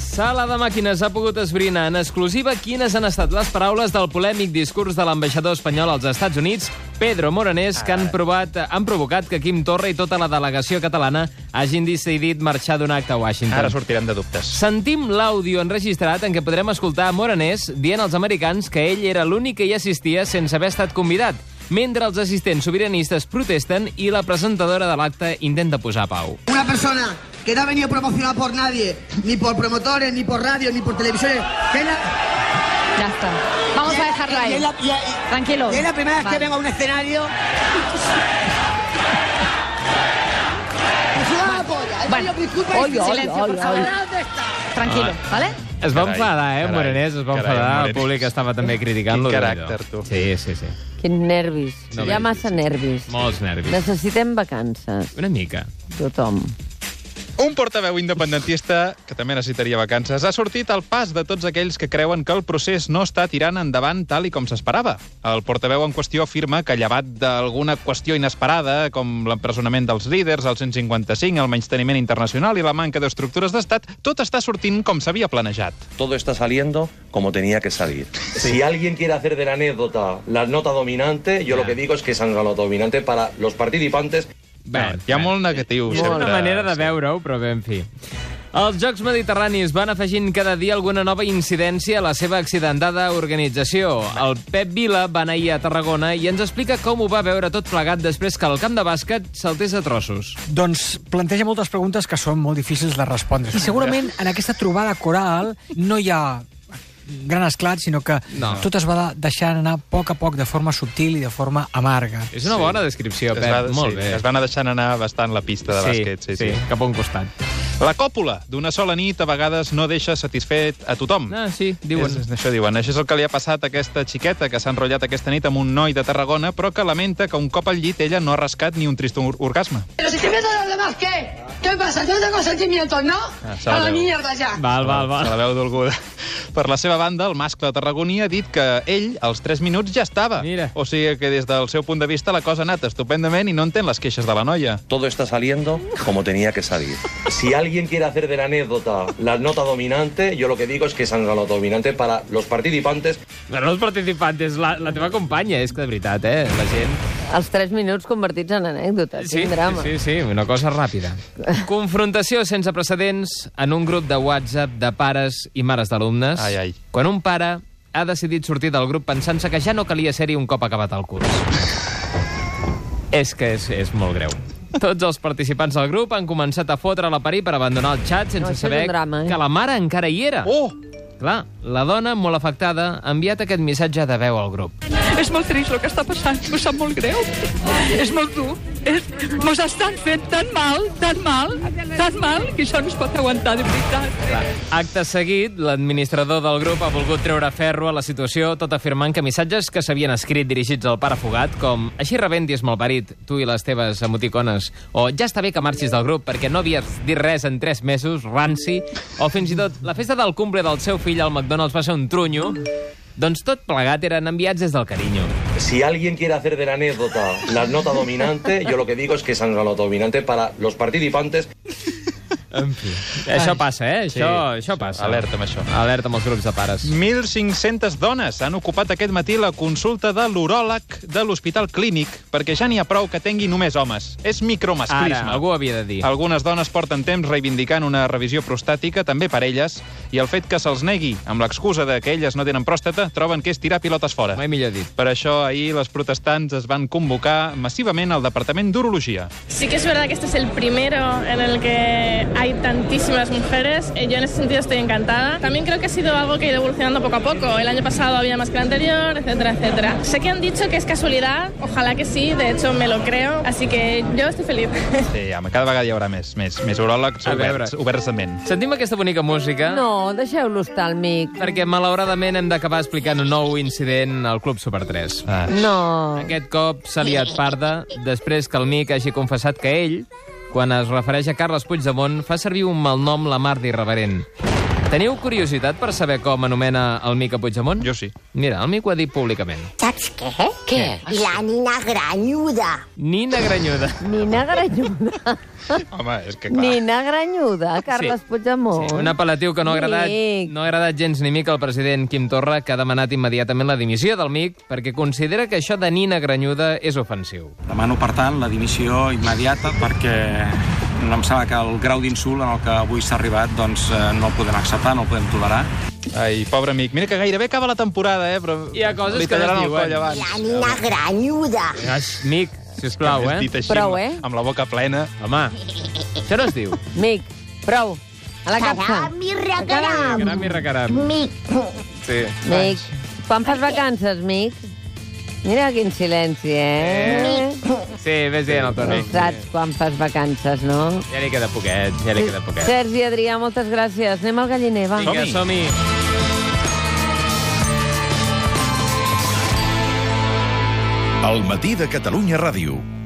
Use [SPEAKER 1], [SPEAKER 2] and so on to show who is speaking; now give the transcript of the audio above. [SPEAKER 1] sala de màquines ha pogut esbrinar en exclusiva quines han estat les paraules del polèmic discurs de l'ambaixador espanyol als Estats Units, Pedro Moranés, que han, provat, han provocat que Quim Torra i tota la delegació catalana hagin decidit marxar d'un acte a Washington.
[SPEAKER 2] Ara sortirem de dubtes.
[SPEAKER 1] Sentim l'àudio enregistrat en què podrem escoltar a Moranés dient als americans que ell era l'únic que hi assistia sense haver estat convidat, mentre els assistents sobiranistes protesten i la presentadora de l'acte intenta posar pau.
[SPEAKER 3] Una persona que no ha venido promocionada por nadie, ni por promotores, ni por radio, ni por televisiones. que la-
[SPEAKER 4] Ya está. Vamos a dejarlo
[SPEAKER 3] y es
[SPEAKER 4] ahí.
[SPEAKER 3] la- y es- y-
[SPEAKER 4] Tranquilo.
[SPEAKER 3] y es la primera vez
[SPEAKER 4] Vale.
[SPEAKER 3] que vengo a un escenario. Es una polla. Es
[SPEAKER 4] Bueno,
[SPEAKER 3] que yo disculpa,
[SPEAKER 4] oye,
[SPEAKER 3] es-
[SPEAKER 4] oye,
[SPEAKER 3] silencio,
[SPEAKER 4] oye,
[SPEAKER 3] por favor.
[SPEAKER 4] oye.
[SPEAKER 3] ¿Dónde está?
[SPEAKER 4] Tranquilo,
[SPEAKER 2] Ah.
[SPEAKER 4] ¿vale?
[SPEAKER 1] Es va
[SPEAKER 2] Carai,
[SPEAKER 1] enfadar, eh,
[SPEAKER 2] carai,
[SPEAKER 1] Moranés? Es va
[SPEAKER 2] carai,
[SPEAKER 1] enfadar. El
[SPEAKER 2] Morenés.
[SPEAKER 1] públic estava també criticant-lo.
[SPEAKER 2] Quin
[SPEAKER 1] Déu-n'hi-do.
[SPEAKER 2] caràcter, tu.
[SPEAKER 1] Sí, sí, sí.
[SPEAKER 5] Quins nervis.
[SPEAKER 1] No
[SPEAKER 5] No Hi ha
[SPEAKER 1] nervis.
[SPEAKER 5] massa nervis.
[SPEAKER 1] Molts nervis.
[SPEAKER 5] Necessitem vacances,
[SPEAKER 1] Una mica.
[SPEAKER 5] tothom.
[SPEAKER 2] Un portaveu independentista, que també necessitaria vacances, ha sortit al pas de tots aquells que creuen que el procés no està tirant endavant tal i com s'esperava. El portaveu en qüestió afirma que, llevat d'alguna qüestió inesperada, com l'empresonament dels líders, el 155, el menysteniment internacional i la manca d'estructures d'estat, tot està sortint com s'havia planejat.
[SPEAKER 6] todo está saliendo como tenía que salir. Si alguien quiere hacer de la anécdota la nota dominante, yo lo que digo es que esa es la nota dominante para los participantes
[SPEAKER 1] Bé,
[SPEAKER 2] hi ha molt negatiu,
[SPEAKER 1] És
[SPEAKER 2] sempre.
[SPEAKER 1] una manera de veure-ho, però bé, en fi. Els Jocs Mediterranis van afegint cada dia alguna nova incidència a la seva accidentada organització. El Pep Vila va anar ahir a Tarragona i ens explica com ho va veure tot plegat després que el camp de bàsquet saltés a trossos.
[SPEAKER 7] Doncs planteja moltes preguntes que són molt difícils de respondre. Eh? I segurament en aquesta trobada coral no hi ha gran esclat, sinó que
[SPEAKER 1] No.
[SPEAKER 7] no. tot es va deixant anar a poc a poc, de forma subtil i de forma amarga.
[SPEAKER 1] És una bona descripció,
[SPEAKER 2] Es
[SPEAKER 1] Pep.
[SPEAKER 2] va,
[SPEAKER 1] Molt
[SPEAKER 2] sí,
[SPEAKER 1] bé.
[SPEAKER 2] Es va anar deixant anar bastant la pista de bàsquet. Sí, sí.
[SPEAKER 1] cap a un costat.
[SPEAKER 2] La còpula d'una sola nit a vegades no deixa satisfet a tothom.
[SPEAKER 1] Ah, sí, diuen.
[SPEAKER 2] És, és, això diuen. Això és el que li ha passat a aquesta xiqueta que s'ha enrotllat aquesta nit amb un noi de Tarragona, però que lamenta que un cop al llit ella no ha rascat ni un trist or- orgasme.
[SPEAKER 8] Pero si estoy viendo a los demás, ¿qué? ¿Qué pasa? Yo tengo sentimientos, ¿no?
[SPEAKER 2] Ah, se la
[SPEAKER 8] a la
[SPEAKER 2] veo.
[SPEAKER 8] mierda ya.
[SPEAKER 1] Val, val,
[SPEAKER 2] Se
[SPEAKER 1] val.
[SPEAKER 2] la veu d'algú. Per la seva banda, el mascle tarragoní ha dit que ell, als 3 minuts, ja estava.
[SPEAKER 1] Mira.
[SPEAKER 2] O sigui que des del seu punt de vista la cosa ha anat estupendament i no entén les queixes de la noia.
[SPEAKER 6] todo está saliendo como tenía que salir. Si alguien quiere hacer de la anécdota la nota dominante, yo lo que digo es que esa es la nota dominante para los participantes
[SPEAKER 1] Però els participants, la, la teva companya, és que de veritat, eh? La gent...
[SPEAKER 5] Els 3 minuts convertits en anècdota.
[SPEAKER 1] Sí,
[SPEAKER 5] Quin drama.
[SPEAKER 1] sí, sí, una cosa ràpida. Confrontació sense precedents en un grup de WhatsApp de pares i mares d'alumnes.
[SPEAKER 2] Ai, ai.
[SPEAKER 1] Quan un pare ha decidit sortir del grup pensant-se que ja no calia ser-hi un cop acabat el curs. és que és, és molt greu. Tots els participants del grup han començat a fotre la parir per abandonar el xat
[SPEAKER 5] No,
[SPEAKER 1] sense
[SPEAKER 5] això és
[SPEAKER 1] saber
[SPEAKER 5] un drama, eh?
[SPEAKER 1] que la mare encara hi era.
[SPEAKER 2] Oh!
[SPEAKER 1] Clar, la dona, molt afectada, ha enviat aquest missatge de veu al grup.
[SPEAKER 9] És molt trist el que està passant, m'ho sap molt greu. És molt dur. És... Mos estan fent tan mal, tan mal, tan mal, que això no es pot aguantar, de veritat.
[SPEAKER 1] Acte seguit, l'administrador del grup ha volgut treure ferro a la situació, tot afirmant que missatges que s'havien escrit dirigits al pare fugat, com així rebentis malparit, tu i les teves emoticones, o ja està bé que marxis del grup perquè no havies dit res en tres mesos, ranci, o fins i tot la festa del cumple del seu fill al McDonald's va ser un trunyo, doncs tot plegat eren enviats des del carinyo.
[SPEAKER 6] Si alguien quiere hacer de la anécdota la nota dominante, yo lo que digo es que esa es la nota dominante para los participantes
[SPEAKER 1] En fi. Això passa, eh? Això,
[SPEAKER 2] Sí.
[SPEAKER 1] això passa.
[SPEAKER 2] Alerta amb això.
[SPEAKER 1] Alerta amb els grups de pares.
[SPEAKER 2] 1.500 dones han ocupat aquest matí la consulta de l'uròleg de l'Hospital Clínic, perquè ja n'hi ha prou que tengui només homes. És micromasclisme.
[SPEAKER 1] Ara, algú ho havia de dir.
[SPEAKER 2] Algunes dones porten temps reivindicant una revisió prostàtica, també per elles, i el fet que se'ls negui, amb l'excusa de que elles no tenen pròstata, troben que és tirar pilotes fora.
[SPEAKER 1] Mai millor dit.
[SPEAKER 2] Per això ahir les protestants es van convocar massivament al Departament d'Urologia.
[SPEAKER 10] Sí que es verdad que este es el primero en el que hay tantísimas mujeres. Eh, Yo en ese sentido estoy encantada. También creo que ha sido algo que ha ido evolucionando poco a poco. El año pasado había más que el anterior, etcétera, etcétera. Sé que han dicho que es casualidad. Ojalá que sí. De hecho, me lo creo. Así que yo estoy feliz.
[SPEAKER 2] Sí, home, cada vegada hi haurà més, més, més uròlegs
[SPEAKER 1] A veure.
[SPEAKER 2] oberts, oberts de ment.
[SPEAKER 1] Sentim aquesta bonica música.
[SPEAKER 5] No, deixeu-lo estar al mic.
[SPEAKER 1] perquè malauradament hem d'acabar explicant un nou incident al Club Super 3.
[SPEAKER 2] Ah.
[SPEAKER 5] No.
[SPEAKER 1] Aquest cop s'ha liat parda després que el Mic hagi confessat que ell, quan es refereix a Carles Puigdemont, fa servir un malnom la mar d'irreverent. Teniu curiositat per saber com anomena el Mica Puigdemont? Jo
[SPEAKER 2] sí.
[SPEAKER 1] Mira, el Mico ha dit públicament.
[SPEAKER 11] Saps què? Què? La nina granyuda.
[SPEAKER 1] Nina Granyuda.
[SPEAKER 5] Nina Granyuda.
[SPEAKER 2] Home, és que clar...
[SPEAKER 5] Nina Granyuda, Carles Puigdemont.
[SPEAKER 1] Un apel·latiu que no ha, agradat,
[SPEAKER 5] Mic.
[SPEAKER 1] no ha agradat gens ni mica al president Quim Torra, que ha demanat immediatament la dimissió del MIC perquè considera que això de Nina Granyuda és ofensiu.
[SPEAKER 12] Demano, per tant, la dimissió immediata perquè no em sembla que el grau d'insult en el que avui s'ha arribat doncs, eh, no el podem acceptar, no el podem tolerar.
[SPEAKER 2] Ai, pobre amic. Mira que gairebé acaba la temporada, eh? Però
[SPEAKER 1] Hi ha coses
[SPEAKER 2] li
[SPEAKER 1] que no es
[SPEAKER 2] tallaran el
[SPEAKER 1] diuen.
[SPEAKER 2] coll abans.
[SPEAKER 11] La nina granyuda.
[SPEAKER 1] Gràcies, Mic, sisplau, eh?
[SPEAKER 2] Dit així, Prou, eh? Amb la boca plena.
[SPEAKER 1] Home, això no es diu.
[SPEAKER 5] Mic, prou. A la capsa.
[SPEAKER 11] Caram i recaram.
[SPEAKER 1] Caram i recaram.
[SPEAKER 11] Mic.
[SPEAKER 1] Sí.
[SPEAKER 5] Mic, quan fas vacances, Mic? Mira quin silenci, eh?
[SPEAKER 1] Sí, vés dient el Toni.
[SPEAKER 5] No saps quan fas vacances, no?
[SPEAKER 1] Ja li queda poquet, ja li queda poquet.
[SPEAKER 5] Sergi, Adrià, moltes gràcies. Anem al galliner, va.
[SPEAKER 1] Vinga, som-hi.
[SPEAKER 13] El matí de Catalunya Ràdio.